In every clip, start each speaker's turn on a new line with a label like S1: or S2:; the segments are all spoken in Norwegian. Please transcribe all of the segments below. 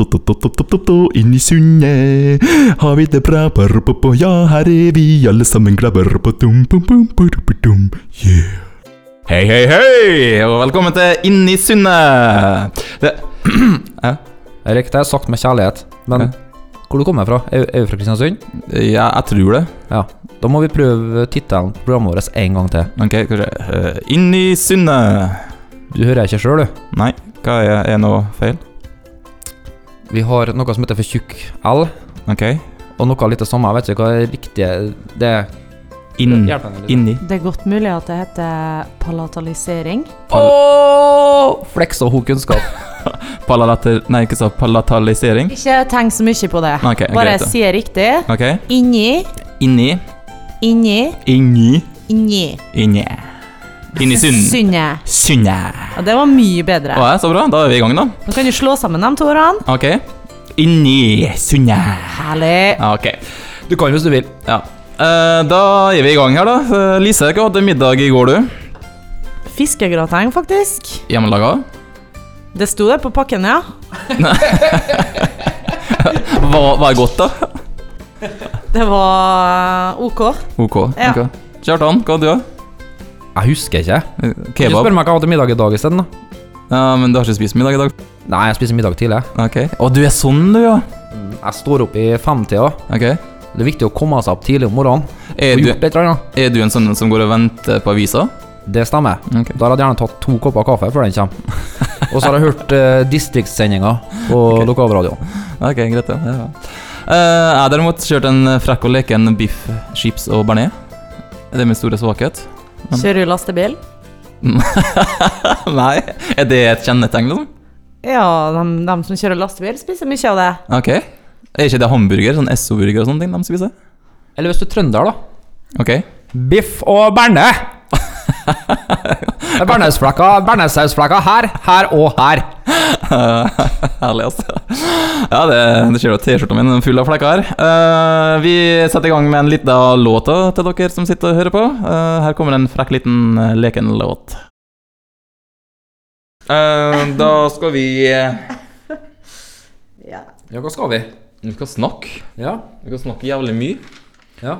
S1: Inn i sundet har vi det bra. Ja, her er vi alle sammen glade. Yeah.
S2: Hei, hei, hei, og velkommen til Inn i sundet. Det ja,
S3: Erik, det er sagt med kjærlighet, men
S2: Ja.
S3: hvor du kommer fra? Er er du fra Kristiansund?
S2: ja, jeg tror det.
S3: Ja. Da må vi prøve tittelen på programmet vårt en gang til.
S2: Ok, kanskje eh, Inn i sundet.
S3: Du hører ikke sjøl, du.
S2: Nei, hva er, er noe feil?
S3: Vi har noe som heter for tjukk L,
S2: Ok.
S3: og noe litt det samme. Jeg vet ikke hva er riktige Det er
S2: Inn,
S3: Hjelp meg litt.
S2: inni.
S4: Det er godt mulig at det heter palatalisering.
S3: Åh, Fleksa hun kunnskap.
S2: Palalater... Nei, ikke så palatalisering.
S4: Ikke tenk så mye på det.
S2: Nei, Mm. ok,
S4: Bare
S2: greit da.
S4: si riktig.
S2: Ok.
S4: Inni,
S2: Inni.
S4: inni,
S2: Inni.
S4: inni.
S2: Inni. Inn i sundet.
S4: Sundet.
S2: Sundet.
S4: Og det var mye bedre.
S2: Å, ja, så bra. Da er vi i gang, da.
S4: Nå kan du slå sammen de to ordene.
S2: Ok. Inni sundet.
S4: Herlig.
S2: Ok.
S3: Du kan hvis du vil.
S2: Ja. Eh, da er vi i gang her, da. Eh, Lise, hva hadde du middag i går, du?
S4: Fiskegrateng, faktisk.
S2: Hjemmelaga?
S4: Det sto det på pakken, ja.
S2: Hva, hva er godt, da?
S4: Det var OK.
S2: Ok.
S4: Ja.
S2: ok. Kjartan, hva hadde du?
S3: Jeg husker ikke.
S2: Eh,
S3: Ikke spør
S2: Kebab?
S3: meg hva jeg hadde middag i dag isteden. da.
S2: Ja, men du har ikke spist middag i dag?
S3: Nei, jeg spiser middag tidlig. jeg.
S2: Ok. Å, du er sånn, du, ja.
S3: Jeg står opp i femtida.
S2: Ok.
S3: Det er viktig å komme seg opp tidlig om morgenen.
S2: Er
S3: Og
S2: du,
S3: gjort litt, annet.
S2: er du en sånn som går og venter på avisa?
S3: Det stemmer.
S2: Ok.
S3: Da har jeg gjerne tatt to kopper kaffe før den kommer. Og så har jeg hørt eh, distriktssendinga på lokalradioen.
S2: Ok, greit, ja. ja. Eh, jeg har derimot kjørt en frekk og leken biff, chips og bearnés. Det er min store svakhet.
S4: Kjører du lastebil?
S2: Nei, er det et kjennetegn, liksom?
S4: Ja, de, de som kjører lastebil, spiser mye av det.
S2: Ok. Er ikke det hamburger? Sånn SO-burger og sånne ting de spiser?
S3: Eller hvis du er trønder, da.
S2: Ok.
S3: Biff og berne. Det er Bernesflekka, Bernesausflekka her, her og her.
S2: Eh, Herlig, altså. Ja, det, det skjer jo at T-skjorta min er full av flekker her. Eh, vi setter i gang med en liten låt da til dere som sitter og hører på. Eh, her kommer en frekk liten eh, leken låt. Eh, da skal vi eh,
S3: Ja, hva skal vi?
S2: Vi skal snakke.
S3: Ja.
S2: Vi skal snakke jævlig mye.
S3: ja.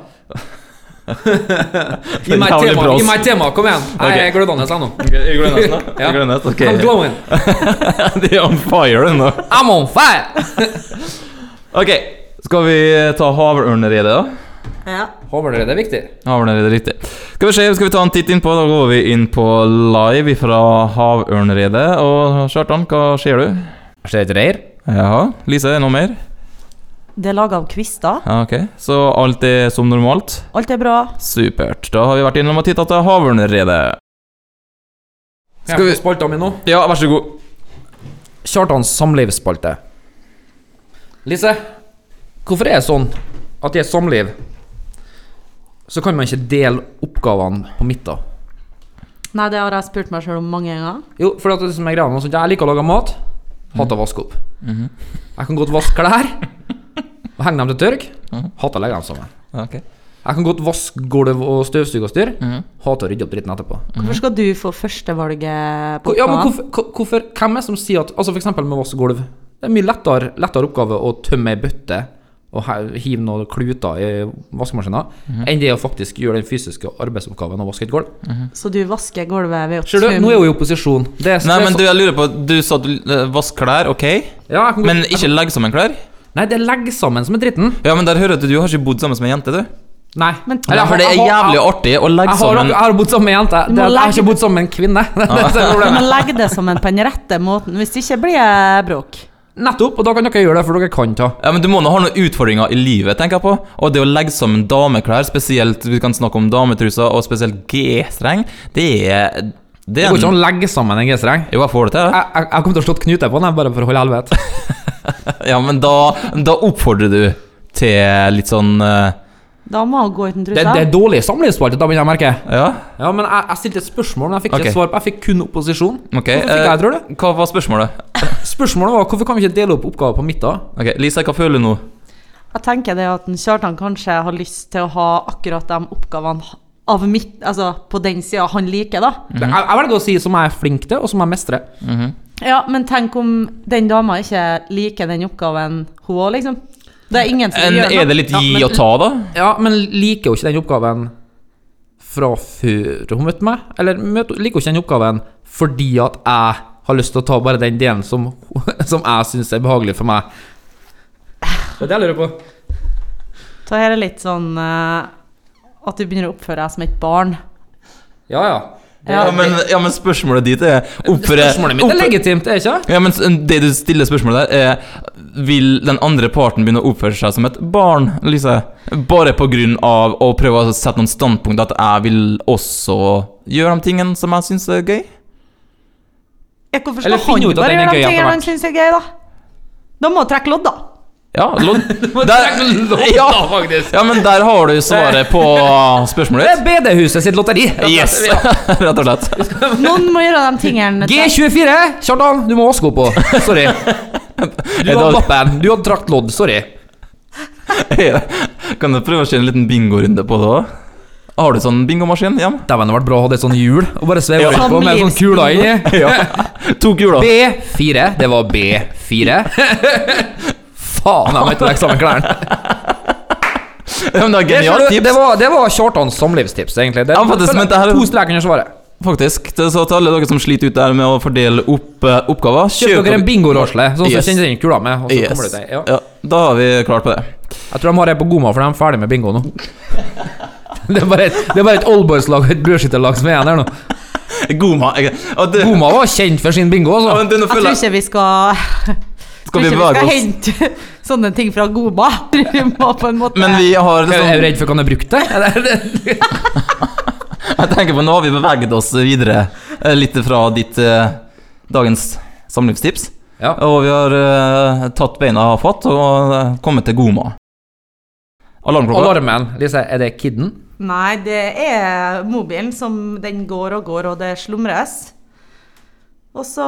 S3: Gi meg et
S2: Jævlig
S3: tema,
S2: bra,
S3: gi
S2: ass.
S3: meg et tema, kom igjen. Jeg er glødende ennå.
S2: Ok, Jeg glemmer nesten, da.
S3: Ja.
S2: Jeg glemmer nesten,
S3: I'm
S2: ok.
S3: glowing.
S2: De er on fire den nå.
S3: I'm on fire!
S2: Ok, skal vi ta havørneredet, da?
S4: Ja.
S3: Håper dere det er viktig.
S2: Havørneredet, riktig. Skal vi se, skal vi ta en titt innpå? Da går vi inn på live fra Havørneredet. Og Kjartan, hva ser du?
S3: Jeg ser et reir.
S2: Jaha. Lise, er det noe mer?
S4: Det er laga av kvister.
S2: Ja, ok. Så alt er som normalt?
S4: Alt er bra.
S2: Supert. Da har vi vært innom og titta til Havørneredet.
S3: Skal vi spalta mi nå?
S2: Ja, vær så god.
S3: Kjartans samlivsspalte. Lise, hvorfor er det sånn at i et samliv så kan man ikke dele oppgavene på midten?
S4: Nei, det har jeg spurt meg sjøl om mange ganger.
S3: Jo, for at det som er greia nå, sånn, jeg liker å lage mat, hater å vaske opp. Jeg kan godt vaske klær og henge dem til tørk, hater å legge dem sammen.
S2: Ok.
S3: Jeg kan godt vaske gulv og støvsuge og styr, hater å rydde opp dritten etterpå.
S2: Mhm.
S4: Hvorfor skal du få førstevalget på
S3: Hvor- Ja, men
S4: oppgaven?
S3: hvorfor, hvor- hvorfor, hvem er det som sier at Altså for eksempel med vaskegulv. Det er mye lettere, lettere oppgave å tømme ei bøtte og he- hive noen kluter i vaskemaskinen
S2: Mhm.
S3: enn det å faktisk gjøre den fysiske arbeidsoppgaven å vaske et gulv.
S4: Så du vasker gulvet ved å
S3: Ser du, nå er jeg jo i opposisjon. Det, er-
S2: Nei,
S3: det er
S2: men
S3: så-
S2: du, jeg lurer på Du sa du eh, vask klær, ok?
S3: ja, jeg kan godt-
S2: Men ikke legg sammen klær?
S3: Nei, det er legg sammen som er dritten.
S2: Ja, men der hører jeg at du har ikke bodd sammen med ei jente, du.
S3: Nei.
S4: Men-
S3: Eller, jeg har-
S2: For det er
S3: jeg har-
S2: jævlig artig å
S3: Jeg
S2: legge
S3: har,
S2: sammen
S3: jeg har bodd sammen med ei jente. Det,
S4: må
S3: jeg har
S4: legge-
S3: ikke bodd sammen med en kvinne. Det er
S4: Du må
S3: problemet.
S4: legge det som en på den rette måten, hvis ikke blir det bråk.
S3: Nettopp, og da kan dere gjøre det, for dere kan ta.
S2: Ja, men Du må nå ha noen utfordringer i livet, tenker jeg på. Og det å legge sammen dameklær, spesielt vi kan snakke om dametruser, og spesielt G-streng, det er Det
S3: Det
S2: er
S3: går ikke an
S2: en
S3: å legge sammen en G-streng.
S2: Jo, jeg får det til,
S3: Jeg, jeg, jeg kommer til å slå knute på den, bare for å holde helvete.
S2: jeg. Ja, men da, da oppfordrer du til litt sånn eh,
S4: Da må hun gå uten
S3: Det, det er
S4: trusa.
S3: dårlig samlivspalte, da begynner jeg å merke.
S2: Ja,
S3: Ja, men jeg, jeg stilte et spørsmål, men jeg fikk
S2: Ok.
S3: ikke svar på Jeg fikk kun opposisjon.
S2: OK.
S3: Hvorfor Mm. fikk
S2: eh,
S3: jeg, tror du?
S2: Hva var spørsmålet?
S3: Spørsmålet var hvorfor kan vi ikke dele opp oppgaver på midten?
S2: Ok, Lisa, hva føler du nå?
S4: Jeg tenker det at en Kjartan kanskje har lyst til å ha akkurat de oppgavene av mitt, altså på den sida han liker, da.
S3: Jeg, jeg velger å si som jeg er flink til, og som jeg mestrer.
S4: Ja, men tenk om den dama ikke liker den oppgaven, hun òg, liksom. Det er ingen som
S2: En,
S4: gjør
S2: er
S4: det.
S2: det litt
S3: Ja,
S2: gi
S3: men-
S2: og ta, da?
S3: Ja, men liker jo ikke den oppgaven fra før hun møtte meg. Eller møtte, liker jo ikke den oppgaven fordi at jeg har lyst til å ta bare den delen som, som jeg syns er behagelig for meg. Det er det jeg lurer på.
S4: Så her er litt sånn eh, at du begynner å oppføre deg som et barn.
S3: Ja, ja. eh,
S2: Ja, men, ja, men spørsmålet ditt er oppføre-
S3: Spørsmålet mitt er
S2: oppføre-
S3: legitimt, er det ikke?
S2: Ja, men s- det du stiller spørsmålet der, er Vil den andre parten begynne å oppføre seg som et barn, Lise? Bare på grunn av å prøve å sette noen standpunkt at jeg vil også gjøre de tingene som jeg syns er gøy?
S4: Jeg kan forstå
S3: Eller finne
S4: han
S3: ut at
S4: bare
S3: den er
S4: gjør
S3: gøy
S4: de
S3: etter
S4: tingene
S3: hvert.
S4: han syns er gøy, da. Da må du trekke lodd, da.
S2: Ja, lodd
S3: Ja,
S2: ja,
S3: faktisk.
S2: ja, men der har du svaret på
S3: Det er
S2: spørsmålet ditt.
S3: BD-huset sitt lotteri.
S2: Yes, rett og slett.
S4: Noen må gjøre de tingene
S3: G24! Kjartan, du må også gå på. Sorry. Du
S2: Er
S3: hadde
S2: det-
S3: lappen. Du hadde trakt lodd. Sorry.
S2: Kan du prøve å kjøre en liten bingorunde på det òg? Har du sånn bingomaskin hjemme?
S3: Dæven, det hadde vært bra å ha det sånn hjul og bare sveve
S2: Ja.
S3: rundt på med sånn kula inni.
S2: Ja. To kuler.
S3: B4. Det var B4. Faen, jeg må ikke legge sammen klærne.
S2: Ja, men det er
S3: Det,
S2: genialt tips.
S3: det var, det var Kjartans samlivstips, egentlig. Det,
S2: Ja, faktisk, men det her-
S3: To strek under svaret.
S2: Faktisk. til- Så til alle dere som sliter ut der med å fordele opp eh, oppgaver,
S3: Kjøp dere en bingorasle, sånn
S2: Yes.
S3: som kjenner inn kula med. Og så kommer
S2: Yes.
S3: du til, ja.
S2: Ja, da har vi klart på det.
S3: Jeg tror de har ei på Goma, for de er ferdig med bingo nå. Det er bare et, det er bare et oldboys-lag og et brødskytterlag som er igjen her nå.
S2: Goma. Jeg, og det,
S3: Goma var kjent for sin bingo,
S2: Ja,
S3: altså.
S2: men du, nå
S4: Jeg tror
S2: føler jeg
S4: ikke vi skal
S2: Skal vi
S4: tror ikke
S2: bevege oss?
S4: hente sånne ting fra Goma. Vi må på en måte
S2: Men vi har
S3: Er er du
S2: liksom,
S3: redd for hva han har brukt det? Er det-
S2: Jeg tenker på nå har vi beveget oss videre eh, litt fra ditt eh, dagens samlivstips.
S3: Ja.
S2: Og vi har eh, tatt beina av fatt og eh, kommet til Goma. Alarmklokka.
S3: Alarmen, Lise, er det kidden?
S4: Nei, det er mobilen som den går og går, og det slumres. Og så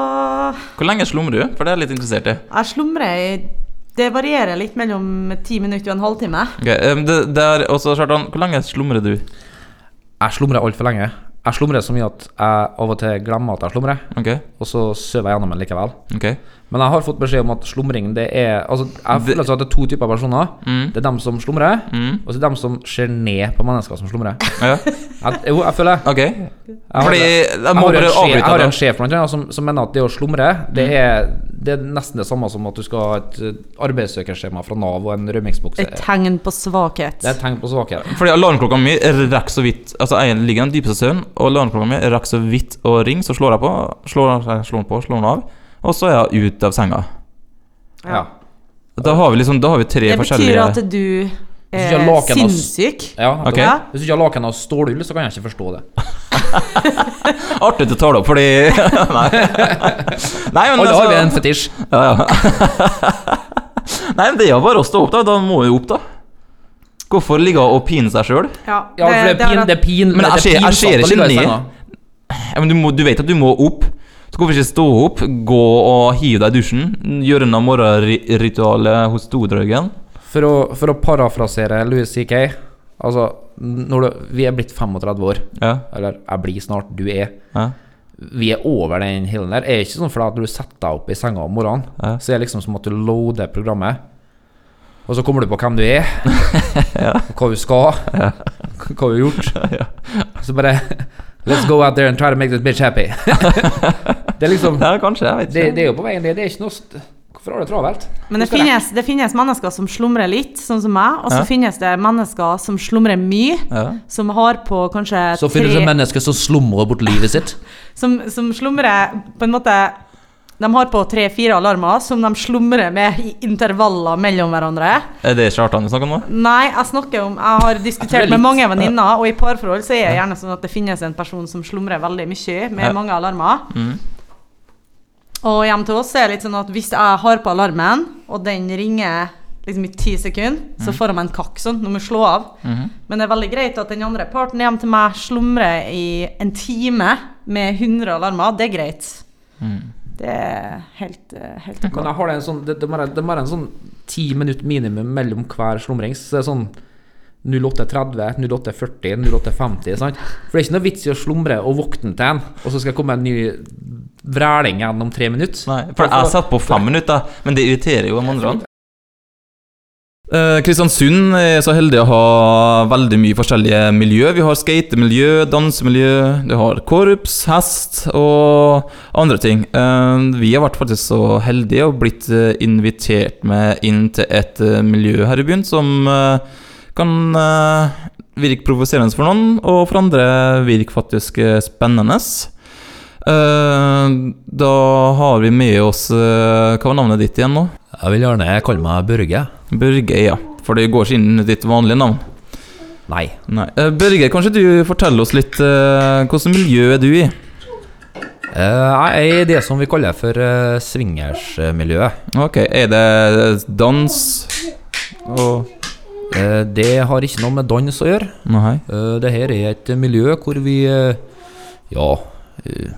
S2: Hvor lenge slumrer du? For det er jeg litt interessert i.
S4: Jeg slumrer i Det varierer litt mellom ti minutter og en halvtime.
S2: Ok, eh, det, det er også, Kjartan, hvor lenge slumrer du?
S3: Jeg slumrer altfor lenge. Jeg slumrer så mye at jeg av og til glemmer at jeg slumrer,
S2: Ok,
S3: og så sover jeg gjennom den likevel.
S2: ok.
S3: Men jeg har fått beskjed om at slumring, det er Altså, jeg føler altså at det er to typer personer. Det er dem som slumrer, og så er det dem som ser ned på mennesker som slumrer.
S2: Ja,
S3: Jeg, jo, jeg føler
S2: ok.
S3: har
S2: Fordi
S3: det.
S2: jeg
S3: Jeg
S2: må
S3: har,
S2: bare
S3: en sjef,
S2: avbryte
S3: jeg
S2: Mm.
S3: har
S2: deg.
S3: en sjef blant annet, som, som mener at det å slumre, det er, det er nesten det samme som at du skal ha et eh, arbeidssøkerskjema fra Nav og en rømmingsbukse.
S4: Et tegn på svakhet.
S3: Det er et tegn på svakhet.
S2: Fordi alarmklokka mi rakk så vidt Altså, jeg ligger i den dypeste søvn, og alarmklokka mi rakk så vidt å ringe, så slår jeg på, slår, jeg slår den på, slår den av, og så er jeg ute av senga.
S3: Ja.
S2: Da har vi liksom, da har vi tre
S4: Det betyr
S2: forskjellige
S4: at du
S3: ikke
S4: er
S3: har laken, ass.
S4: sinnssyk.
S3: ja nettopp.
S2: Ok.
S3: Hvis du ikke har laken av stålull, så kan jeg ikke forstå det.
S2: Artig at du tar det opp, fordi Nei. Nei, men
S3: Alle
S2: altså-
S3: har vi en fetisj.
S2: ja, ja. Nei, men det er jo bare å stå opp, da. Da må vi opp, da. Hvorfor ligge og pine seg sjøl?
S3: Ja, for det, er pin, det er pin,
S2: Men
S3: det er
S2: jeg ser- jeg
S3: pinsamt
S2: ser
S3: å
S2: ikke
S3: ligge i
S2: ned.
S3: senga.
S2: Ja, men du, må, du vet at du må opp. Så hvorfor ikke stå opp, gå og hive deg i dusjen? Gjøre noe morgenritualet hos Stodrøgen?
S3: For å, for å parafrasere Louis C.K. Altså, når du, vi er blitt 35 år,
S2: Ja,
S3: eller jeg blir snart, du er
S2: ja.
S3: vi er over den hillen der. Er ikke sånn for at når du setter deg opp i senga om morgenen,
S2: Ja.
S3: så er det liksom som at du loader programmet. Og så kommer du på hvem du er, og hva du skal, hva du har gjort. Så bare Let's go out there and try to make this bitch happy. det er liksom
S2: ja kanskje. Jeg vet
S3: det,
S2: ikke.
S3: det er jo på veien, det. Det er ikke noe st- Hvorfor har du det travelt?
S4: Men
S3: Hvorfor
S4: det
S3: er
S4: finnes, det finnes mennesker som slumrer litt, sånn som meg, og så
S2: Ja.
S4: finnes det mennesker som slumrer mye,
S2: Ja.
S4: som har på kanskje
S5: Så finnes det
S4: tre
S5: mennesker som slumrer bort livet sitt.
S4: som, som slumrer på en måte De har på tre-fire alarmer som de slumrer med i intervaller mellom hverandre.
S2: Er det Kjartan vi snakker om nå?
S4: Nei, jeg snakker om Jeg
S3: Jeg tror
S4: har
S3: det er
S4: diskutert med
S3: litt-
S4: mange venninner, og i parforhold så er det gjerne sånn at det finnes en person som slumrer veldig mye med
S2: Ja.
S4: mange alarmer.
S3: Mm.
S2: Mhm.
S4: Og hjem til oss er det litt sånn at hvis jeg har på alarmen, og den ringer liksom i ti sekunder,
S3: Mm.
S4: så får de en kakk sånn, nå må jeg slå av.
S3: Mm-hmm.
S4: Men det er veldig greit at den andre parten hjem til meg slumrer i en time med 100 alarmer. Det er greit.
S3: Mm.
S4: Det er helt, eh, helt ok.
S3: Men jeg har det en sånn Det, det, må være- det må være en sånn ti minutter minimum mellom hver slumring. Så det er sånn
S6: 08.30, 08.40, 08.50. sant? For det er ikke noe vits i å slumre og våkne til en, og så skal det komme en ny vræling igjen om tre minutter.
S2: Nei, for jeg satt på fem minutter, men det irriterer jo de andre. Eh, Kristiansund er så heldig å ha veldig mye forskjellige miljø. Vi har skatemiljø, dansemiljø, du har korps, hest og andre ting. Eh, vi har vært faktisk så heldige og blitt eh, invitert med inn til et eh, miljø her i byen som eh, kan eh, virke provoserende for noen, og for andre virke faktisk eh, spennende. Eh, da har vi med oss eh, Hva var navnet ditt igjen nå?
S3: Jeg vil gjerne kalle meg Børge.
S2: Børge, ja. For det går ikke inn i ditt vanlige navn.
S3: Nei.
S2: Nei. Eh, Børge, kanskje du forteller oss litt uh, hvilket miljø er du i?
S3: Eh, Jeg er i det som vi kaller for eh, swingersmiljøet.
S2: Ok, er det dans og
S3: Eh, Det har ikke noe med dans å gjøre.
S2: Nei.
S3: Eh, Det her er et miljø hvor vi eh, Ja eh,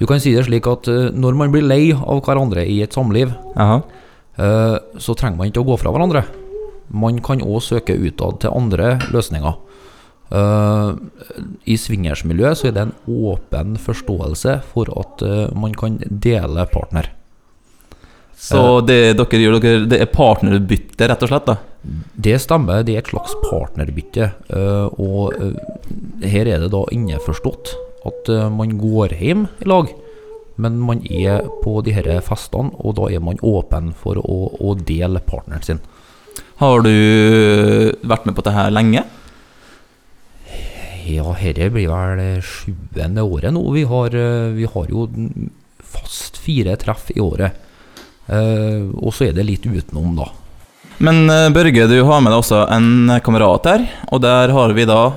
S3: Du kan si det slik at eh, når man blir lei av hverandre i et samliv,
S2: Jaha.
S3: eh, så trenger man ikke å gå fra hverandre. Man kan òg søke utad til andre løsninger. Eh, I swingersmiljøet så er det en åpen forståelse for at eh, man kan dele partner.
S2: Så det dere gjør, dere, det er partnerbytte, rett og slett? da?
S3: Det stemmer, det er et slags partnerbytte. eh, og eh, her er det da innforstått at eh, man går hjem i lag, men man er på de disse festene, og da er man åpen for å, å dele partneren sin.
S2: Har du vært med på dette her lenge?
S3: Ja, herre blir vel eh, sjuende året nå. Vi har, eh, vi har jo den- fast fire treff i året. Eh, og så er det litt utenom, da.
S2: Men eh, Børge, du har med deg også en kamerat her, og der har vi da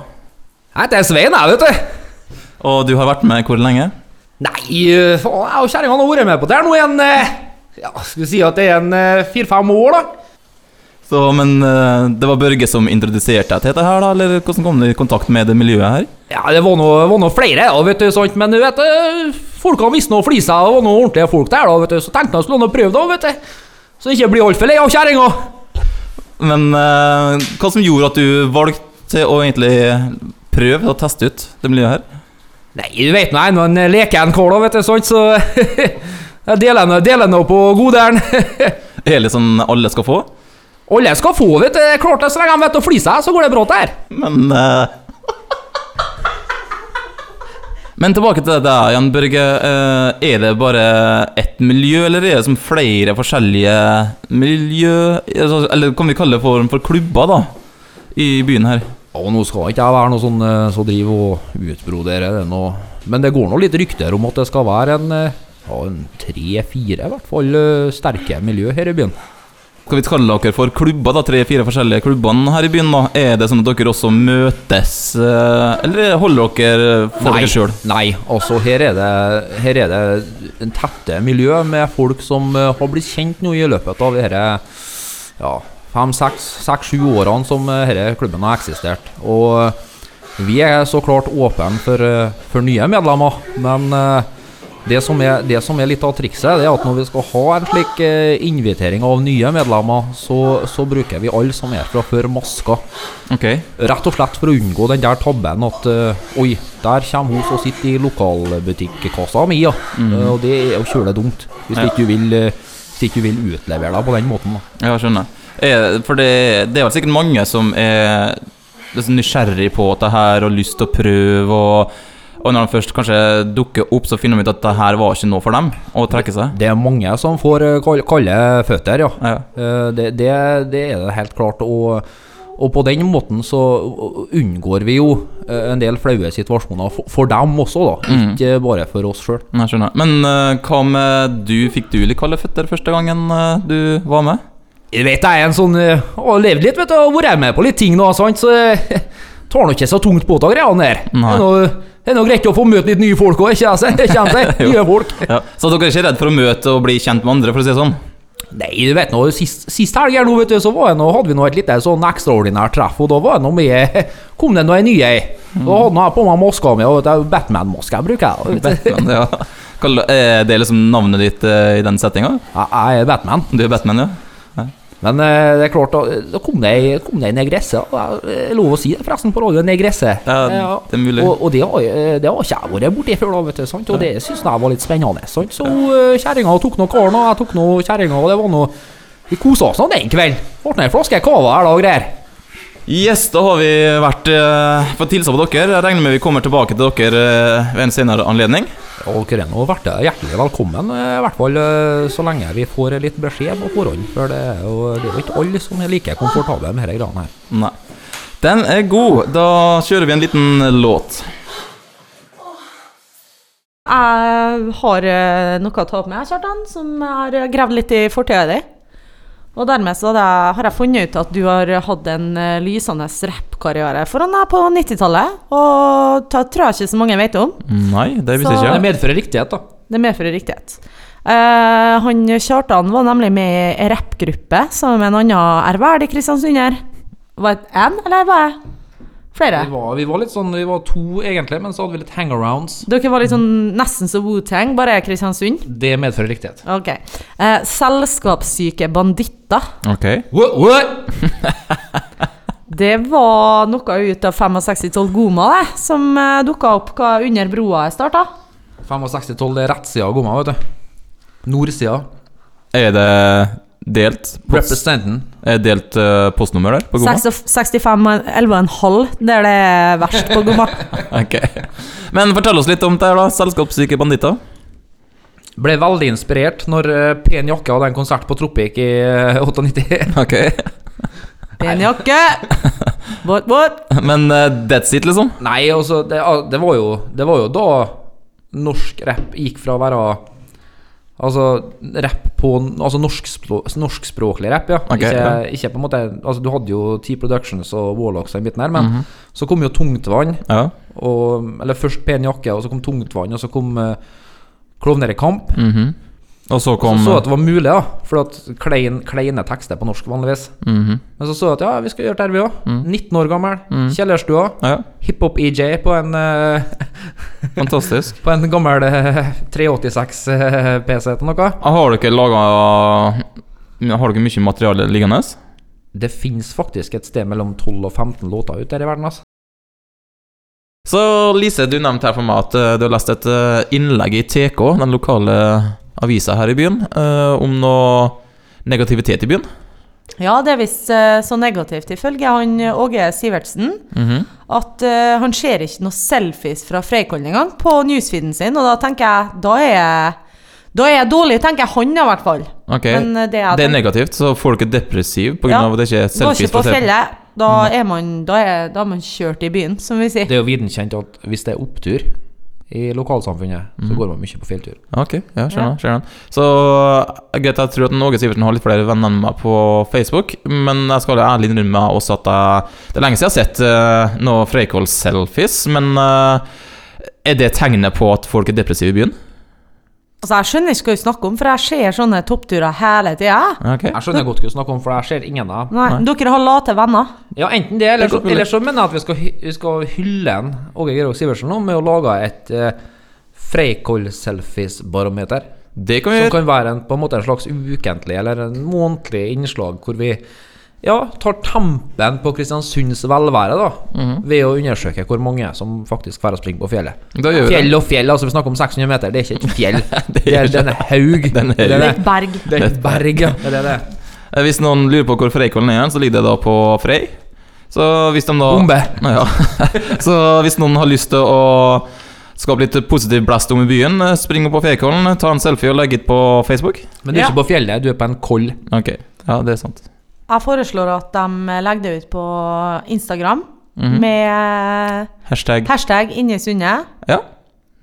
S3: Nei, det er Svein, jeg, vet du!
S2: Og du har vært med hvor lenge?
S3: Nei, eh, faen, jeg og kjerringa har vært med på det her nå i en eh, Ja, skal vi si at det er en eh, fire-fem år, da.
S2: Så, men eh, det var Børge som introduserte deg til dette her, da? Eller hvordan kom du i kontakt med det miljøet her?
S3: Ja, det var noe, var noe flere, da, vet du, sant? men du vet, eh, folka visste noe flisa, det var noen ordentlige folk der, da, vet du, så tenkte jeg skulle nå prøve, da, vet du. Så jeg ikke blir altfor lei av kjerringa.
S2: Men eh, hva som gjorde at du valgte å egentlig prøve å teste ut det miljøet her?
S3: Nei, du vet nå, jeg er nå en leken kar, da, vet du, sant, så jeg deler nå- deler nå på goderen.
S2: Er det litt sånn alle skal få?
S3: Alle skal få, vet du, det er klart det, så lenge de vet å flise, så går det bra der.
S2: Men eh, Men tilbake til det der igjen, Børge. Eh, Er det bare ett miljø, eller er det som flere forskjellige miljø Altså, Eller kan vi kalle det form for klubber, da? I byen her.
S3: Og nå skal ikke jeg være noe sånn eh, som driver og utbroderer det nå, men det går nå litt rykter om at det skal være en eh, ja, en tre-fire, i hvert fall, eh, sterke miljø her i byen.
S2: Skal vi kalle dere for klubber, da? Tre-fire forskjellige klubbene her i byen, da. Er det sånn at dere også møtes, eh, eller holder dere for dere sjøl?
S3: nei, altså her er det, her er det en tette miljø med folk som eh, har blitt kjent nå i løpet av disse ja, fem, seks, seks, sju årene som eh, denne klubben har eksistert. Og eh, vi er så klart åpne for, eh, for nye medlemmer, men eh, det som, er, det som er litt av trikset, det er at når vi skal ha en slik eh, invitering av nye medlemmer, så, så bruker vi alle som er fra før masker.
S2: Ok.
S3: Rett og slett for å unngå den der tabben at eh, Oi, der kommer hun som sitter i lokalbutikkassa mi, ja. Eh, og det er jo kjølig dumt. Hvis
S2: Mm. Ja.
S3: ikke du vil, eh, hvis ikke du vil utlevere deg på den måten, da.
S2: Ja, skjønner. Er, for det, det er vel sikkert mange som er liksom nysgjerrig på dette her og lyst til å prøve og og når de først kanskje dukker opp, så finner de ut at det her var ikke noe for dem, og trekker seg.
S3: Det er mange som får eh, kal- kalde føtter, ja.
S2: Ja.
S3: Eh, det, det, det er det helt klart. Og, og på den måten så unngår vi jo eh, en del flaue situasjoner for, for dem også, da.
S2: Mm.
S3: Ikke bare for oss sjøl.
S2: Jeg skjønner. Men eh, hva med du? Fikk du litt kalde føtter første gangen eh, du var med?
S3: Jeg vet jeg er en sånn eh, Å, levd litt, vet du, og vært med på litt ting nå, sant, så eh, tar nå ikke så tungt på av greiene her. Det
S2: Nei.
S3: er nå- Det er nå greit å få møte litt nye folk òg, ikke sant? Kjenn seg, nye folk.
S2: Ja. Så dere er ikke redd for å møte og bli kjent med andre, for å si det sånn?
S3: Nei, du vet nå, sist, sist helg her nå, vet du, så var jeg nå, hadde vi nå et lite sånn ekstraordinært treff, og da var jeg nå med Kom det noen nye? Da hadde nå jeg på meg maska mi, og vet du, Batman-maska jeg bruker. jeg, Vet du.
S2: Batman, ja. Kall- Er det liksom navnet ditt eh, i den settinga?
S3: Jeg jeg er Batman.
S2: Du er Batman, ja?
S3: Men eh, det er klart, da, da kom det ei- kom det ei negresse. og jeg- jeg Lov å si det, forresten, på radio. Negresse.
S2: Ja, det er mulig.
S3: Og, og det, har, jeg- det har ikke jeg vært borti før, da, vet du. Sant? Og det syns jeg var litt spennende. Sant? Så eh, kjerringa tok nå karen, og jeg tok nå kjerringa, og det var nå Vi kosa oss nå den kvelden. Ble ei flaske cava her da og greier.
S2: Yes, da har vi vært eh, fått tilsa på dere. Jeg regner med vi kommer tilbake til dere eh, ved en senere anledning.
S3: Ja, Dere er nå vært hjertelig velkommen, eh, i hvert fall eh, så lenge vi får litt beskjed på forhånd. For det er jo, det er jo ikke alle som er like komfortable med disse greiene her.
S2: Nei. Den er god. Da kjører vi en liten låt.
S4: Jeg har eh, noe å ta opp med, jeg, Kjartan, som jeg har eh, gravd litt i fortida di. Og dermed så hadde jeg, har jeg funnet ut at du har hatt en eh, lysende rappkarriere foran deg på 90-tallet. Og det tror jeg ikke så mange vet om.
S2: Nei, det
S4: Så-
S2: visste
S3: Det
S2: jeg ikke.
S3: medfører riktighet, da.
S4: Det medfører riktighet. Eh, han Kjartan var nemlig med i ei rappgruppe sammen med en annen ærverdig kristiansunder. Var det én, eller var det flere?
S3: Vi var, vi var litt sånn, vi var to egentlig, men så hadde vi litt hangarounds.
S4: Dere var litt sånn nesten så Wu-Tang, bare Kristiansund.
S3: Det medfører riktighet.
S4: Ok. Eh, selskapssyke banditter.
S2: Ok.
S3: What, what?
S4: Det var noe ut av 65 Tolgoma det, som eh, dukka opp hva under broa jeg starta.
S3: 65-12, det er rettsida av gomma, vet du. Nordsida.
S2: Er det delt post,
S3: Representen.
S2: er det delt eh, postnummer der? På Goma?
S4: 65 11,5, det er det verst på Goma.
S2: Ok. Men fortell oss litt om det her, da. Selskapssyke banditter.
S3: Ble veldig inspirert når eh, Pen Jakke hadde en konsert på Tropik i eh, 98.
S2: Ok.
S4: Pen jakke! Båt, båt.
S2: Men eh, that's it, liksom?
S3: Nei, altså, det, det, var jo, det var jo da norsk rapp gikk fra å være Altså rapp på Altså norskspro, norskspråklig rapp, ja.
S2: Ok,
S3: ikke,
S2: ja.
S3: ikke på en måte Altså Du hadde jo T-Productions og Warlocks og den biten her, men
S2: Mhm.
S3: så kom jo Tungtvann.
S2: Ja.
S3: Og, eller først Pen jakke, og så kom Tungtvann, og så kom uh, Klovner i kamp.
S2: Mhm. Og så
S3: Så
S2: kom
S3: så jeg at det var mulig, da. For at klein, kleine tekster på norsk vanligvis.
S2: Mhm.
S3: Men så så jeg at ja, vi skal gjøre det her, vi òg. 19 år gammel. Kjellerstua.
S2: Ja,
S3: Hiphop-EJ på en eh,
S2: fantastisk.
S3: På en gammel eh, 386 eh, PC til noe?
S2: Har dere laga Har dere mye materiale liggende?
S3: Det fins faktisk et sted mellom 12 og 15 låter ute der i verden, altså.
S2: Så Lise, du nevnte her for meg at eh, du har lest et eh, innlegg i TK, den lokale avisa her i byen, eh, om noe negativitet i byen.
S4: Ja, det er visst eh, så negativt, ifølge han eh, Åge Sivertsen,
S2: Mhm.
S4: at eh, han ser ikke noen selfies fra Freikollen engang på newsfeeden sin, og da tenker jeg Da er jeg, da er jeg dårlig, tenker jeg han, i hvert fall.
S2: Ok,
S4: Men eh, det jeg
S2: Det er
S4: tenker-
S2: negativt, så folk er depressive pga.
S4: Ja.
S2: av at det ikke er
S4: Går
S2: selfies
S4: ikke på
S2: på TV.
S4: fjellet. Da er man, da er, da er man kjørt i byen, som vi sier.
S3: Det er jo viden kjent at hvis det er opptur i lokalsamfunnet, så går man mye på fjelltur.
S2: Ok, ja, skjønner, skjønner. Så eh, greit, jeg tror at Åge Sivertsen har litt flere venner enn meg på Facebook, men jeg skal ærlig innrømme også at jeg, det er lenge siden jeg har sett uh, noe Freikoll-selfies, men eh, er det tegnet på at folk er depressive i byen?
S4: Altså, jeg skjønner ikke hva du snakker om, for jeg ser sånne toppturer hele tida.
S2: Ok.
S3: Jeg skjønner godt hva du snakker om, for jeg ser ingen av dem.
S4: Nei, Dere har late venner.
S3: Ja, enten det, eller
S2: Det er
S3: så,
S2: godt mulig.
S3: eller så mener jeg at vi skal, hy- vi skal hylle en Åge Gerhog Sivertsen nå med å lage et eh, Freikoll-selfies-barometer.
S2: Det kan vi
S3: Som
S2: gjøre.
S3: kan være en, på en måte en slags ukentlig eller en månedlig innslag hvor vi ja, tar tampen på Kristiansunds velvære da,
S2: Mhm.
S3: ved å undersøke hvor mange som faktisk drar og springer på fjellet.
S2: Da gjør vi det.
S3: Fjell og fjell, altså vi snakker om 600 meter, det er ikke et fjell. det
S2: er
S3: er,
S2: ikke-
S3: det er en haug.
S2: Den er-
S3: det er
S4: Det er
S3: det.
S4: et berg.
S3: Det er et berg, ja. Det er det.
S2: Eh, Hvis noen lurer på hvor Freikollen er, så ligger det da på Frei. Så hvis de da
S3: Bombe.
S2: Ja. Så hvis noen har lyst til å skape litt positiv blest om i byen, eh, spring opp på Freikollen, ta en selfie og legg ut på Facebook.
S3: Men du er ikke på fjellet, du er på en koll.
S2: Ok, ja, det er sant.
S4: Jeg foreslår at de eh, legger det ut på Instagram med eh,
S2: Hashtag.
S4: hashtag 'inni sundet'.
S2: Ja,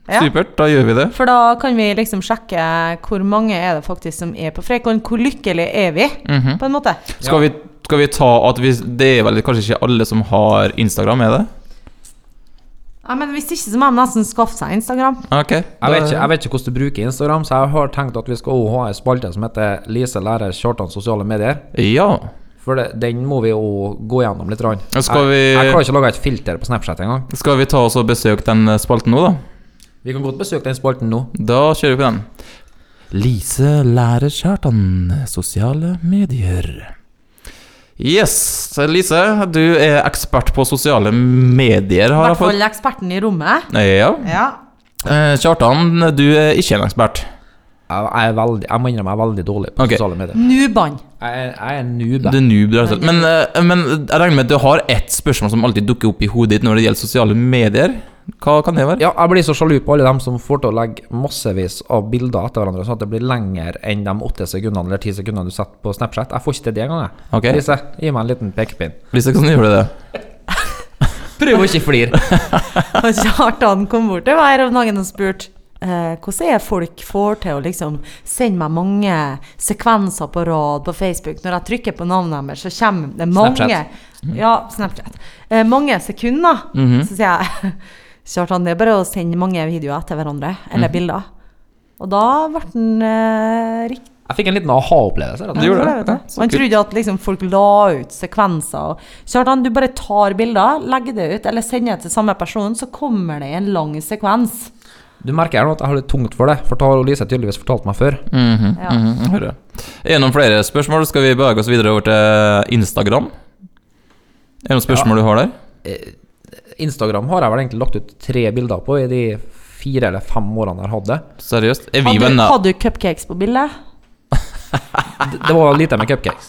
S4: Ja.
S2: supert. Da gjør vi det.
S4: For da kan vi liksom sjekke hvor mange er det faktisk som er på Freikollen. Hvor lykkelig er vi,
S2: Mhm.
S4: på en måte?
S2: Skal vi, skal vi ta at vi, det er vel kanskje ikke alle som har Instagram, er det?
S4: Ja, men Hvis ikke så må de nesten skaffe seg Instagram.
S2: Ok.
S3: Jeg vet, ikke, jeg vet ikke hvordan du bruker Instagram, så jeg har tenkt at vi skal også ha en spalte som heter Lise lærer Kjartan sosiale medier.
S2: Ja.
S3: For det, den må vi jo gå gjennom litt. Rann.
S2: Ja, skal vi-
S3: jeg, jeg klarer ikke å lage et filter på Snapchat engang.
S2: Skal vi ta oss og besøke den eh, spalten nå, da?
S3: Vi kan godt besøke den spalten nå.
S2: Da kjører vi på den. Lise lærer Kjartan sosiale medier. Yes. så Lise, du er ekspert på sosiale medier,
S4: I
S2: har jeg
S4: hvert
S2: fått.
S4: fall eksperten i rommet.
S2: Ja.
S4: Ja.
S2: Eh, Kjartan, du er ikke en ekspert.
S3: Jeg, jeg, er veldig, jeg må innrømme jeg er veldig dårlig på
S2: Ok.
S3: sosiale medier.
S4: Nuban.
S3: Jeg, er- jeg er en noob.
S2: Du er noob, rett og slett. Men, eh, men jeg regner med at du har ett spørsmål som alltid dukker opp i hodet ditt når det gjelder sosiale medier. Hva kan det være?
S3: Ja, jeg blir så sjalu på alle dem som får til å legge massevis av bilder etter hverandre, sånn at det blir lenger enn de åtte sekundene eller ti sekundene du setter på Snapchat. Jeg får ikke til det engang, jeg.
S2: Ok.
S3: Lise, gi meg en liten pekepinn.
S2: Lise, hvordan gjør du det?
S3: Prøv å ikke flire.
S4: Og Kjartan kom bort til meg her om dagen og spurte eh, hvordan er folk får til å liksom sende meg mange sekvenser på rad på Facebook. Når jeg trykker på navnet deres, så kommer det mange Mhm.
S3: Snapchat.
S4: Ja, Snapchat. Eh, mange sekunder. Så sier jeg Kjartan, det er bare å sende mange videoer etter hverandre, eller bilder. Og da ble han eh, riktig.
S3: Jeg fikk en liten aha-opplevelse. rett og
S2: Du
S3: slett.
S2: gjorde det?
S4: Ja,
S2: Ja, så
S4: Man
S2: kult.
S4: trodde at liksom folk la ut sekvenser. Og Kjartan, du bare tar bilder, legger det ut, eller sender det til samme person, så kommer det i en lang sekvens.
S3: Du merker her nå at jeg har litt tungt for det, for det har Lise tydeligvis fortalt meg før.
S2: Mhm,
S4: Ja.
S2: mhm, hører jeg. Er det noen flere spørsmål? Skal vi bevege oss videre over til Instagram? Er det noen spørsmål du har der?
S3: Eh, Instagram har jeg vel egentlig lagt ut tre bilder på i de fire eller fem årene jeg hadde.
S2: Seriøst? Er vi
S4: Hadde, du-
S2: venner?
S4: hadde du cupcakes på bildet?
S3: Det, det var lite med cupcakes.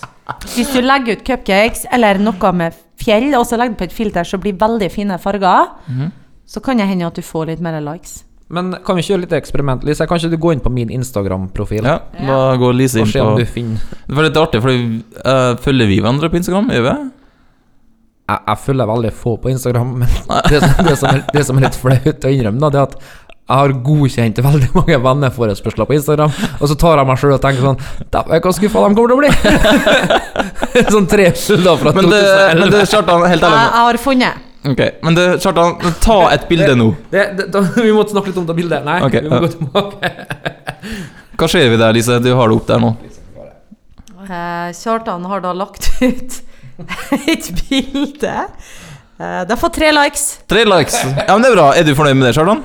S4: Hvis du legger ut cupcakes eller noe med fjell, og så legger du på et filter som blir veldig fine farger,
S2: Mhm.
S4: så kan det hende at du får litt mer likes.
S3: Men kan vi ikke gjøre litt eksperiment, Lise? Kan ikke du gå inn på min Instagram-profil
S2: Ja, da går Lise
S3: og
S2: inn
S3: se om du
S2: på
S3: finner
S2: Det var litt artig, for følger vi hverandre på Instagram? Gjør vi?
S3: jeg, jeg følger veldig få på Instagram, men det, som- det, som er, det som er litt flaut å innrømme, da, det er at jeg har godkjent veldig mange venneforespørsler på Instagram, og så tar jeg meg sjøl og tenker sånn Dæven, hvor skuffa de kommer til å bli! sånn tre bilder fra
S2: Men det,
S3: 2011.
S2: men det Kjartan, helt
S4: Jeg, jeg
S2: ærlig
S4: har funnet.
S2: Ok, men det, Kjartan, ta et bilde nå.
S3: Det, det, da, vi måtte snakke litt om det bildet. Nei,
S2: Ok,
S3: vi må
S2: ja.
S3: gå tilbake.
S2: Hva skjer vi der, Lise? Du har det opp der nå.
S4: Eh, Kjartan har da lagt ut et bilde. Eh, det har fått tre likes.
S2: Tre likes. Ja, men det er bra. Er du fornøyd med det, Kjartan?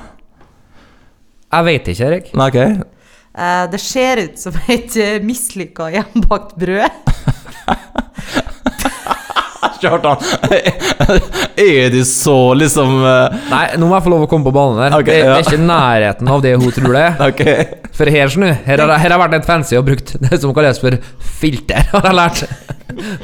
S3: Jeg veit ikke, Erik.
S2: Nei, ok.
S4: Eh, det ser ut som et uh, mislykka hjemmebakt brød.
S2: Kjartan, er du så liksom eh,
S3: Nei, nå må jeg få lov å komme på banen der.
S2: Ok,
S3: det, det
S2: ja.
S3: er ikke i nærheten av det hun tror det er.
S2: Ok.
S3: For her, snu, her, har, jeg- her har jeg vært litt fancy og brukt det som kalles for filter, har jeg lært.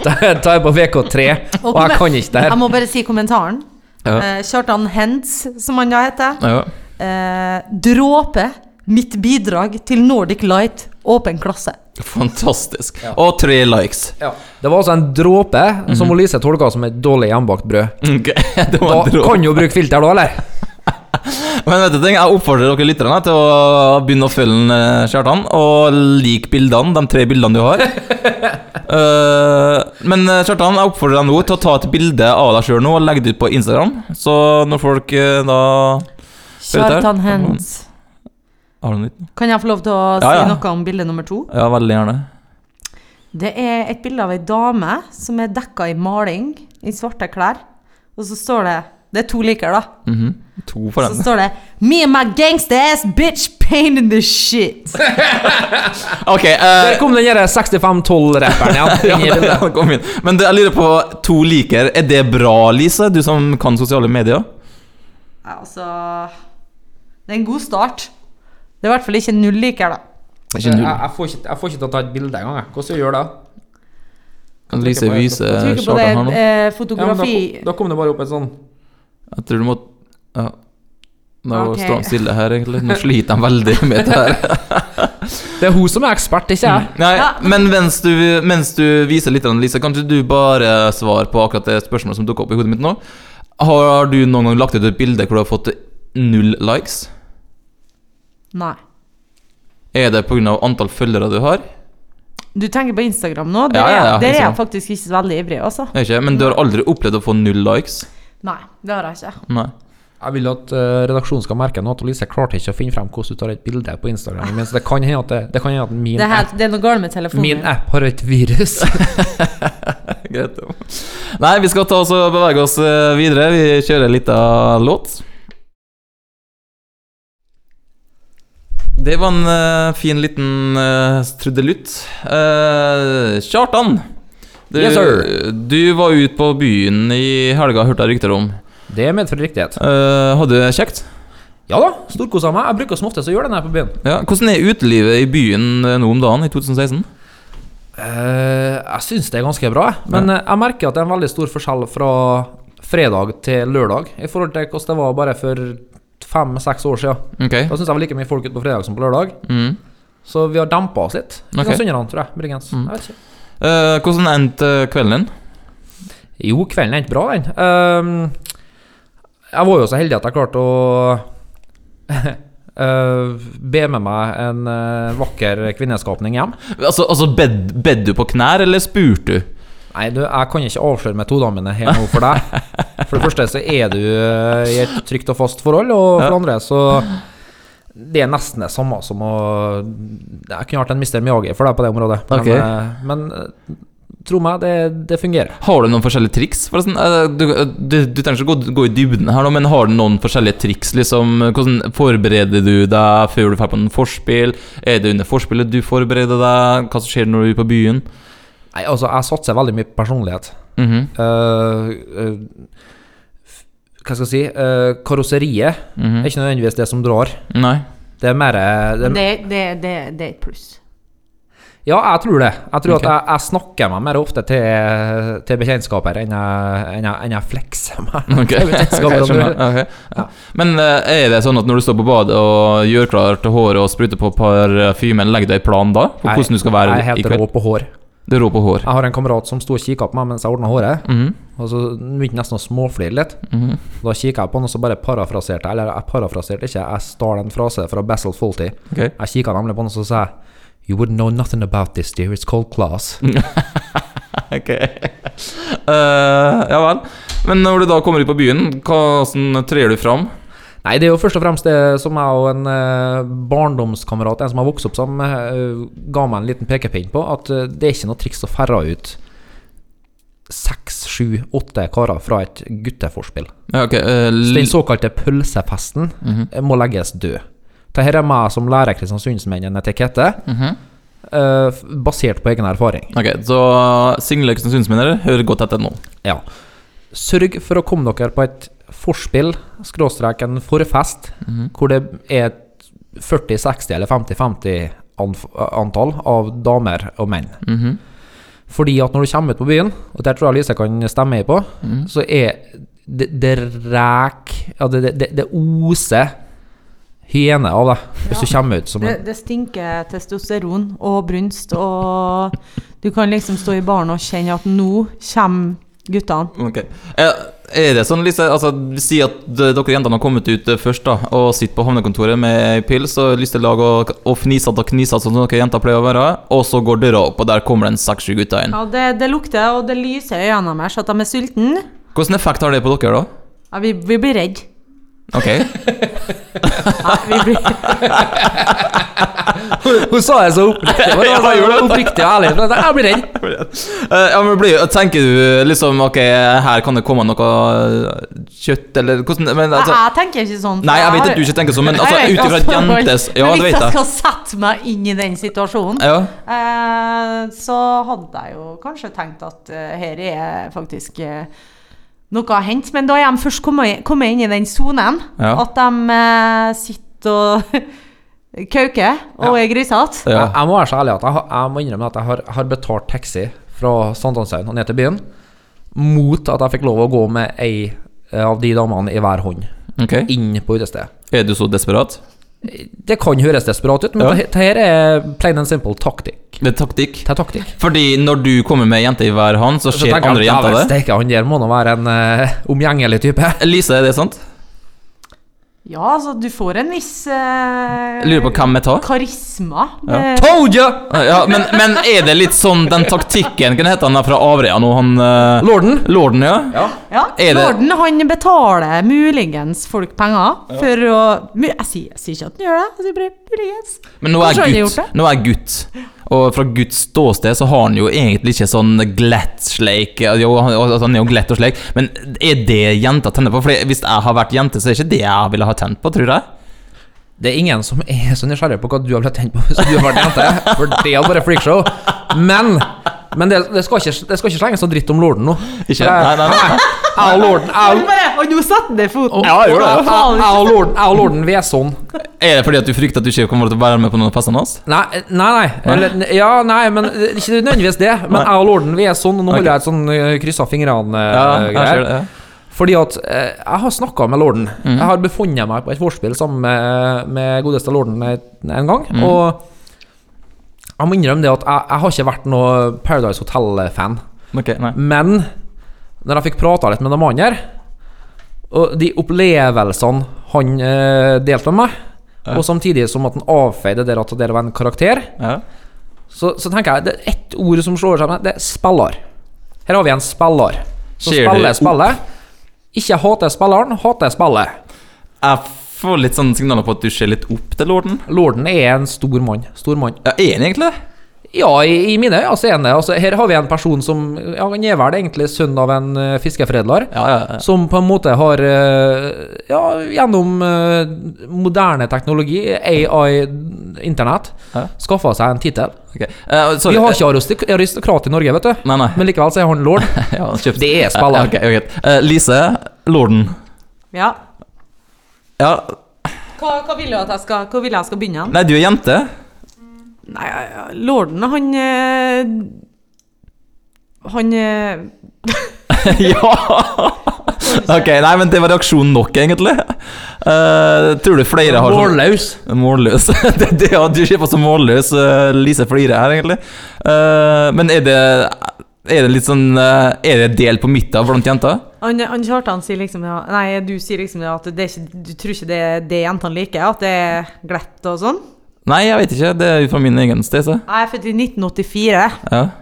S3: Da tar jeg på VK3, og jeg kan ikke det her.
S4: Jeg må bare si kommentaren.
S2: Ja.
S4: Eh, Kjartan Hentz, som han da heter.
S2: Ja.
S4: Eh, dråpe. Mitt bidrag til Nordic Light. Åpen klasse.
S2: Fantastisk. Og tre likes.
S3: Det var altså en dråpe som Lise tolka som et dårlig hjemmebakt brød.
S2: Ok, det
S3: Da
S2: var Mhm. en drå.
S3: kan du jo bruke filter, da, eller?
S2: Men vet du ting, jeg oppfordrer dere lytterne til å begynne å følge den, eh, Kjartan, og like bildene, de tre bildene du har. Eh, men eh, Kjartan, jeg oppfordrer deg nå til å ta et bilde av deg sjøl nå og legge det ut på Instagram. Så når folk eh, da Ser du der?
S4: Kjartan Hentz.
S2: Har du noe nytt?
S4: Kan jeg få lov til å
S2: Ja, ja.
S4: si noe om bilde nummer to?
S2: Ja, veldig gjerne.
S4: Det er et bilde av ei dame som er dekka i maling i svarte klær. Og så står det Det er to liker, da.
S2: Mhm. To for
S4: Så
S2: den.
S4: står det Me and my gangsta ass bitch pain in the shit.
S2: Ok, eh,
S3: Der kom den derre 6512-rapperen
S2: Ja,
S3: igjen. inn i
S2: det
S3: bildet.
S2: han kom inn. Men det, jeg lurer på to liker. Er det bra, Lise? Du som kan sosiale medier?
S4: Ja, altså Det er en god start. Det er i hvert fall ikke null liker, da.
S3: Jeg, jeg, får ikke, jeg får ikke til å ta et bilde engang. jeg. Hvordan skal jeg gjøre det?
S2: Lise
S3: trykke på
S2: viser
S4: Trykker på det
S2: Kjartan her nå.
S4: eh,
S3: Ja, men da,
S4: fotografi
S3: da kom det bare opp et sånn
S2: Jeg tror du må ja. Nå
S4: Ok.
S2: står han stille her, egentlig. Nå sliter han veldig med det her.
S3: Det er hun som er ekspert, ikke jeg.
S2: Nei,
S4: Ja.
S2: men mens du, mens du viser litt, av den, Lise, kan ikke du bare svare på akkurat det spørsmålet som dukket opp i hodet mitt nå? Har du noen gang lagt ut et bilde hvor du har fått null likes?
S4: Nei.
S2: Er det pga. antall følgere du har?
S4: Du tenker på Instagram nå? Det,
S2: Ja, ja, ja,
S4: er- det er jeg
S2: Instagram.
S4: faktisk ikke så veldig ivrig, altså.
S2: Er Ikke, men du har aldri opplevd å få null likes?
S4: Nei, det har jeg ikke.
S2: Nei.
S3: Jeg vil at eh, redaksjonen skal merke nå at Lise klarte ikke å finne frem hvordan du tar et bilde på Instagram. Mens det kan hende at, det, Ah. det kan hende at min,
S4: Det er,
S3: app,
S4: helt, det er noe galt med telefonen.
S3: min app har et virus.
S2: Greit. ja. Nei, vi skal ta oss og bevege oss eh, videre. Vi kjører litt av låt. Det var en eh, fin liten eh, trudelutt. Eh, Kjartan, Du,
S3: Yes, sir.
S2: du var ute på byen i helga, hørte jeg rykter om.
S3: Det medfører riktighet.
S2: Eh, hadde du det kjekt?
S3: Ja da, storkosa meg. Jeg bruker som oftest å gjøre den her på byen.
S2: Ja. Hvordan er utelivet i byen eh, nå om dagen i 2016?
S3: Eh, jeg syns det er ganske bra, jeg. men eh, jeg merker at det er en veldig stor forskjell fra fredag til lørdag i forhold til hvordan det var bare for fem-seks år siden.
S2: Ok.
S3: Da syns jeg var like mye folk ute på fredag som på lørdag,
S2: Mm.
S3: så vi har dempa oss litt.
S2: Ok.
S3: Okay. Sunnere, tror jeg. Muligens.
S2: Mm.
S3: Jeg vet ikke.
S2: Eh, hvordan endte kvelden din?
S3: Jo, kvelden endte bra, den. Ehm, jeg var jo så heldig at jeg klarte å eh, be med meg en eh, vakker kvinneskapning hjem.
S2: Altså, altså bed, bed du på knær, eller spurte du?
S3: Nei, du, jeg kan ikke avsløre metodene mine her nå for deg. For det første så er du eh, i et trygt og fast forhold, og for det andre så Det er nesten det samme som å Jeg kunne vært en Mr. Miyagi for deg på det området. Men,
S2: Ok.
S3: eh, men, eh, tro meg, det, det fungerer.
S2: Har du noen forskjellige triks? forresten? Eh, Du, du, du trenger ikke å gå, gå i dybden her, nå, men har du noen forskjellige triks? liksom? Hvordan forbereder du deg før du drar på en forspill? Er det under forspillet du forbereder deg? Hva som skjer når du er på byen?
S3: Nei, altså, jeg satser veldig mye på personlighet.
S2: Mhm,
S3: Eh, eh, f- hva skal jeg si Eh, Karosseriet
S2: mhm.
S3: er ikke nødvendigvis det som drar.
S2: Nei.
S3: Det er mer det er,
S4: Det, det, det, det er et pluss.
S3: Ja, jeg tror det. Jeg tror
S2: Ok.
S3: at jeg, jeg snakker meg mer ofte til, til bekjentskaper enn jeg, enn jeg, enn jeg flekser meg.
S2: Ok,
S3: til bekjentskaper,
S2: Ok, skjønner.
S3: om du-
S2: Ok. Men eh, er det sånn at når du står på badet og gjør klart til håret og spruter på parfymen, legger du en plan da? For
S3: Nei,
S2: hvordan du skal være
S3: Jeg er
S2: i
S3: helt rå
S2: kveld?
S3: på hår.
S2: Du er rå på hår.
S3: Jeg har en kamerat som sto og kikka på meg mens jeg ordna håret.
S2: Mhm,
S3: Og så begynte nesten å småflire litt.
S2: mhm.
S3: Da kikka jeg på han, og så bare parafraserte jeg. Eller jeg parafraserte ikke, jeg stjal en frase fra Basil Fawlty.
S2: Ok.
S3: Jeg kikka nemlig på han, og så sa jeg You wouldn't know nothing about this, dear. It's called class.
S2: Mm. Ok. Eh, ja vel. Men når du da kommer ut på byen, hva- hvordan trer du fram?
S3: Nei, det er jo først og fremst det som jeg og en eh, barndomskamerat, en som har vokst opp sammen med, eh, ga meg en liten pekepinn på at eh, det er ikke noe triks å færre ut seks, sju, åtte karer fra et gutteforspill.
S2: Ja, ok, eh,
S3: Så
S2: l-
S3: den såkalte pølsefesten
S2: Mhm,
S3: eh, må legges død. Dette her er meg som lærer Kristiansundsmenn en etikette,
S2: mhm.
S3: eh, f- basert på egen erfaring.
S2: Ok, så single Kristiansundsminner, hør godt etter nå.
S3: Ja. Sørg for å komme dere på et forspill, skråstrek en forfest, hvor det er et 40, 60 eller 50-50 anf- antall av damer og menn.
S2: Mhm,
S3: Fordi at når du kommer ut på byen, og der tror jeg Lise kan stemme i på,
S2: mhm.
S3: så er det, det ræk ja, det, det, det oser hyene av deg hvis du kommer ut som
S4: Det,
S3: en
S4: det stinker testosteron og brunst, og du kan liksom stå i baren og kjenne at nå kommer guttene.
S2: Ok. Eh, er det sånn, Lise, altså, si at d- dere jentene har kommet ut eh, først da, og sitter på havnekontoret med en pils og listelag og, og fnisete og knisete som dere jenter pleier å være, og så går døra opp, og der kommer det en seks-sju gutter inn.
S4: Ja, det, det lukter, og det lyser i øynene deres at de er sultne.
S2: Hvordan effekt har det på dere da?
S4: Ja, vi, vi blir redde.
S2: Ok.
S4: Ja, vi blir,
S3: Hun sa det så oppriktig, men det var
S2: Ja, hun gjorde
S3: så
S2: det.
S3: oppriktig og ærlig. for Jeg jeg blir redd.
S2: Eh, ja, men blir, tenker du liksom Ok, her kan det komme noe eh, kjøtt, eller hvordan men,
S4: jeg,
S2: altså,
S4: jeg tenker ikke sånn. for
S2: Nei, jeg vet
S4: har-
S2: at du ikke tenker sånn, men
S4: Jeg
S2: altså,
S4: vet
S2: ut ifra et
S4: altså, men-
S2: jentes Ja, det
S4: men hvis
S2: vet
S4: jeg
S2: jeg.
S4: skal sette meg inn i den situasjonen,
S2: Ja.
S4: eh, så hadde jeg jo kanskje tenkt at eh, her er faktisk eh, noe å hente. Men da er de først kommet, kommet inn i den sonen,
S2: Ja.
S4: at de eh, sitter og kauker og er grisete.
S2: ja.
S3: Jeg, jeg må være så ærlig at jeg, har- jeg må innrømme at jeg har, har betalt taxi fra Sankthanshaugen og ned til byen mot at jeg fikk lov å gå med ei eh, av de damene i hver hånd
S2: Ok.
S3: inn på utestedet.
S2: Er du så desperat?
S3: Det kan høres desperat ut, men
S2: Ja.
S3: det det her er plain and simple taktikk.
S2: Det er taktikk.
S3: Det er taktikk.
S2: Fordi når du kommer med ei jente i hver hånd, så
S3: Så
S2: ser
S3: tenker jeg,
S2: andre jenter
S3: «Dæven
S2: det.
S3: Steike, han der må nå være en eh, omgjengelig type.
S2: Lise, er det sant?
S4: Ja, altså, du får en viss eh,
S2: Jeg lurer på hvem jeg tar.
S4: karisma. Eh,
S2: Ja.
S4: med-
S2: Told you! Ja, men, men er det litt sånn den taktikken Hva heter han der fra Averøya nå, han eh,
S3: Lorden.
S2: Lorden, ja?
S4: Ja,
S2: Er det-
S4: Lorden han betaler muligens folk penger for å mu- Jeg sier, jeg sier ikke at han gjør det, jeg sier bare muligens.
S2: Men nå er
S4: Kanskje han
S2: jeg
S4: har
S2: gutt.
S4: gjort
S2: Nå er jeg gutt. Og fra Guds ståsted så har han jo egentlig ikke sånn glatt sleik Jo, han altså, han er jo glatt og sleik, men er det jenta tenner på? For hvis jeg har vært jente, så er det ikke det jeg ville ha tent på, tror jeg.
S3: Det er ingen som er så nysgjerrig på hva du har blitt tent på hvis du har vært jente, for det er bare freakshow. Men Men det, det, skal ikke, det skal ikke slenges noe dritt om lorden nå.
S2: Ikke? Nei, nei, nei.
S3: Jeg og lorden jeg og-
S4: Bare, og nå satte den i foten!
S3: Ja, jeg gjør det.
S4: Faen,
S3: Jeg og lorden, jeg og lorden sånn. Veson
S2: Er det fordi at du frykter at du ikke kommer til å være med på noen av festene hans?
S3: Nei, nei, nei. Eller, ja, nei, men det er ikke nødvendigvis det. Men
S2: Nei.
S3: jeg og lorden vi er sånn, og nå
S2: Ok.
S3: holder jeg et sånn eh, kryss av
S2: Ja, jeg ser
S3: fingrene-greier.
S2: det. ja.
S3: Fordi at eh, jeg har snakka med lorden. Jeg har befunnet meg på et vorspiel sammen med, med godeste lorden et- en gang. Og jeg må innrømme det at jeg, jeg har ikke vært noe Paradise Hotel-fan.
S2: Ok, nei.
S3: Men når jeg fikk prata litt med de andre, og de opplevelsene han eh, delte med meg,
S2: Ja.
S3: og samtidig som at han avfeide det at det var en karakter,
S2: Ja.
S3: så, så tenker jeg det er ett ord som slår seg med, det er spiller. Her har vi en spiller som
S2: Cheer
S3: spiller
S2: it
S3: spillet. Ikke hater spilleren, hater spillet.
S2: Jeg får litt sånn signaler på at du ser litt opp til lorden.
S3: Lorden er en stor mann. Stor mann.
S2: Ja, er han egentlig det?
S3: Ja, i, i mine øyne så er han det. Altså, her har vi en person som ja, Han er vel egentlig sønn av en eh, fiskeforedler.
S2: Ja, ja, ja.
S3: Som på en måte har eh, Ja, gjennom eh, moderne teknologi, AI, internett,
S2: Ja.
S3: skaffa seg en tittel.
S2: Ok. Eh, sorry.
S3: Vi har ikke aristok- aristokrat i Norge, vet du.
S2: Nei, nei.
S3: Men likevel så er han lord.
S2: Ja, kjøpt.
S3: Det er spiller.
S2: Ja, ok, ok. Eh, Lise, lorden.
S4: Ja.
S2: Ja,
S4: Hva, hva vil du at jeg skal, hvor vil jeg skal begynne?
S2: nei, du er jente.
S4: Nei, ja, lorden, han eh, Han eh,
S2: ja! Ok, nei, men det var reaksjonen nok, egentlig. Eh, tror du flere har sånn-
S3: Målløs.
S2: Målløs. det, det, ja, du ser på som målløs. eh, Lise flirer her, egentlig. Eh, men er det er det litt sånn eh, Er det delt på midten blant jenter?
S4: han, han Kjartan sier liksom ja, Nei, du sier liksom det at det er ikke, du tror ikke det er det jentene liker, at det er glatt og sånn.
S2: Nei, jeg vet ikke. Det er jo fra min egen sted, så.
S4: Jeg er født i 1984.
S2: Ja.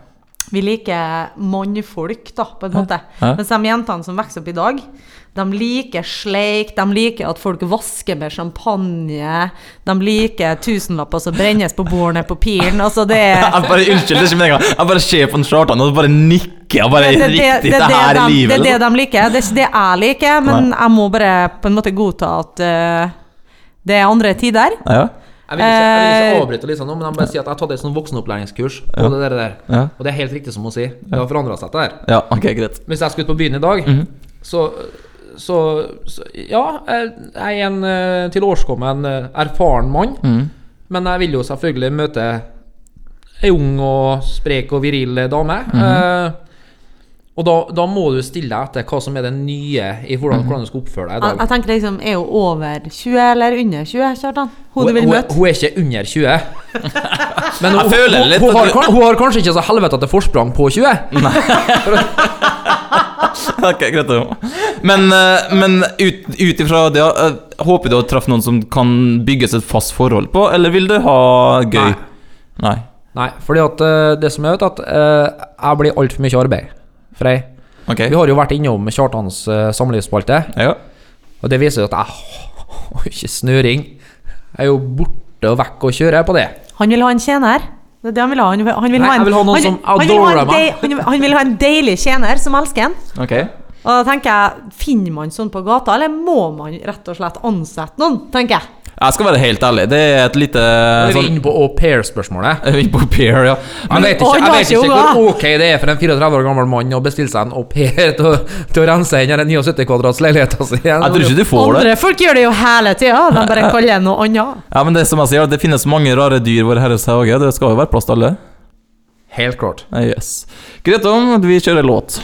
S4: Vi liker mannfolk, da, på en måte.
S2: ja.
S4: Mens de jentene som vokser opp i dag, de liker sleik, de liker at folk vasker med champagne, de liker tusenlapper som brennes på bordet på piren. Altså, det er
S2: Jeg bare, unnskyld, det er ikke meningen. Jeg bare ser på en Kjartan og bare nikker. Og bare
S4: det,
S2: riktig, det,
S4: er
S2: her
S4: de,
S2: er
S4: det
S2: livet. liksom.
S4: er det de liker. Det er ikke det jeg liker, men jeg må bare på en måte godta at eh, det er andre tider.
S2: Ja,
S3: Jeg vil ikke, jeg vil
S4: Eh.
S3: ikke avbryte Lisa nå, men jeg må bare si at jeg har tatt et sånn voksenopplæringskurs. på det der, der.
S2: Ja.
S3: Og det er helt riktig som hun sier. Det har forandra seg, dette her.
S2: ja ok, greit.
S3: Hvis jeg skulle ut på byen i dag,
S2: Mhm.
S3: så, så, så Ja, jeg jeg er en eh, tilårskommen eh, erfaren mann.
S2: Mhm.
S3: Men jeg vil jo selvfølgelig møte ei ung og sprek og viril dame.
S2: Mhm.
S3: eh, og da, da må du stille deg etter hva som er det nye i
S2: Mhm.
S3: hvordan, hvordan du skal oppføre deg i
S4: Jeg,
S3: dag.
S4: jeg tenker liksom, Er hun over 20 eller under 20, Kjartan? Hun du vil
S3: hun,
S4: møte?
S3: hun er ikke under 20. Men hun,
S2: Jeg føler
S3: hun,
S2: litt
S3: hun,
S2: at
S3: har,
S2: du- Mm.
S3: kan- hun har kanskje ikke så helvete at det forsprang på 20.
S2: Ok, greit det var. Men, eh, men ut, ut ifra det, eh, håper du å treffe noen som kan bygges et fast forhold på, eller vil du ha gøy? Nei.
S3: Nei, fordi at eh, det som er vet at eh, jeg blir altfor mye arbeid. Frei.
S2: Ok.
S3: Vi har jo vært innom Kjartans uh, samlivsspalte,
S2: Ja.
S3: og det viser jo at jeg har ikke snøring. Jeg er jo borte og vekk og kjører på det.
S4: Han vil ha en tjener. Det er det han vil ha. Han vil, han vil
S3: Nei,
S4: ha en,
S3: jeg vil ha noen
S4: han,
S3: som
S4: han vil ha en
S3: adorer meg.
S4: dei- Han, vil- han vil ha en deilig tjener som elsker en.
S2: Ok.
S4: Og da tenker jeg, Finner man sånn på gata, eller må man rett og slett ansette noen? tenker jeg.
S2: Jeg skal være helt ærlig, det er et lite
S3: Da er vi
S2: sånn
S3: inne på au pair-spørsmålet.
S2: Vi på peer, ja.
S3: Jeg
S2: Men,
S3: vet
S4: Å,
S3: ikke, jeg
S4: da
S3: vet
S4: sier
S3: ikke
S4: hun
S3: hvor ok det er for en 34 år gammel mann å bestille seg en au pair til, å- til å rense inn i den 79 kvadrats leiligheta si.
S2: jeg tror ikke du får det.
S4: Andre folk gjør det jo hele tida, de bare kaller det noe annet.
S2: Ja, men det er som jeg sier, det finnes mange rare dyr vår herres hage. Det skal jo være plass til alle.
S3: Helt klart.
S2: Eh, Yes. Greit om, vi kjører låt.